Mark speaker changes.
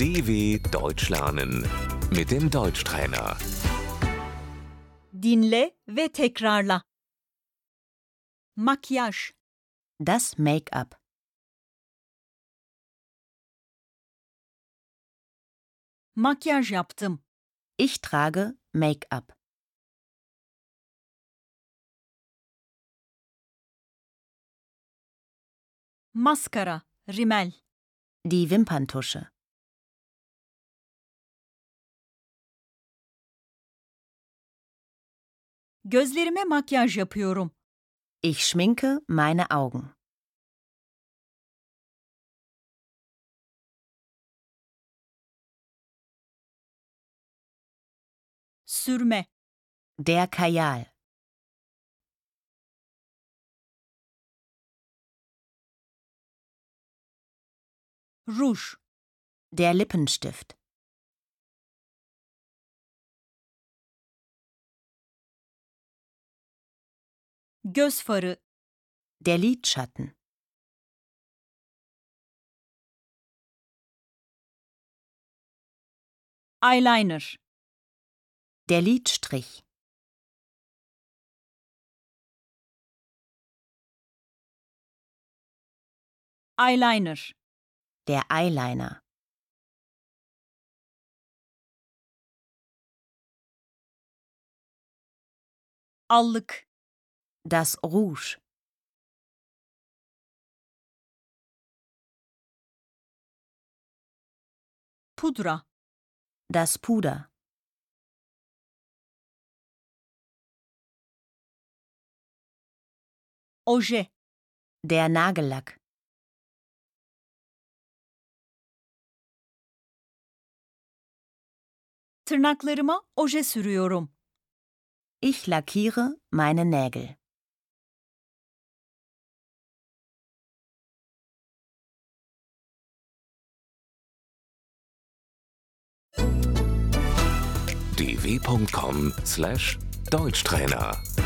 Speaker 1: DW Deutsch lernen mit dem Deutschtrainer.
Speaker 2: Dinle ve tekrarla. Makyaj,
Speaker 3: Das Make-up.
Speaker 2: makyaj yaptım.
Speaker 3: Ich trage Make-up.
Speaker 2: Maskara, rimel.
Speaker 3: Die Wimperntusche.
Speaker 2: Gözlerime makyaj yapıyorum.
Speaker 3: Ich schminke meine Augen.
Speaker 2: Sürme,
Speaker 3: Der Kajal.
Speaker 2: ruj,
Speaker 3: Der Lippenstift.
Speaker 2: göz farı,
Speaker 3: Der Lidschatten.
Speaker 2: eyeliner,
Speaker 3: Der Lidstrich.
Speaker 2: eyeliner,
Speaker 3: Der Eyeliner.
Speaker 2: allık,
Speaker 3: Das Rouge.
Speaker 2: pudra,
Speaker 3: Das Puder.
Speaker 2: oje,
Speaker 3: Der Nagellack.
Speaker 2: tırnaklarıma oje sürüyorum.
Speaker 3: Ich lackiere meine Nägel.
Speaker 1: dw.com/deutschtrainer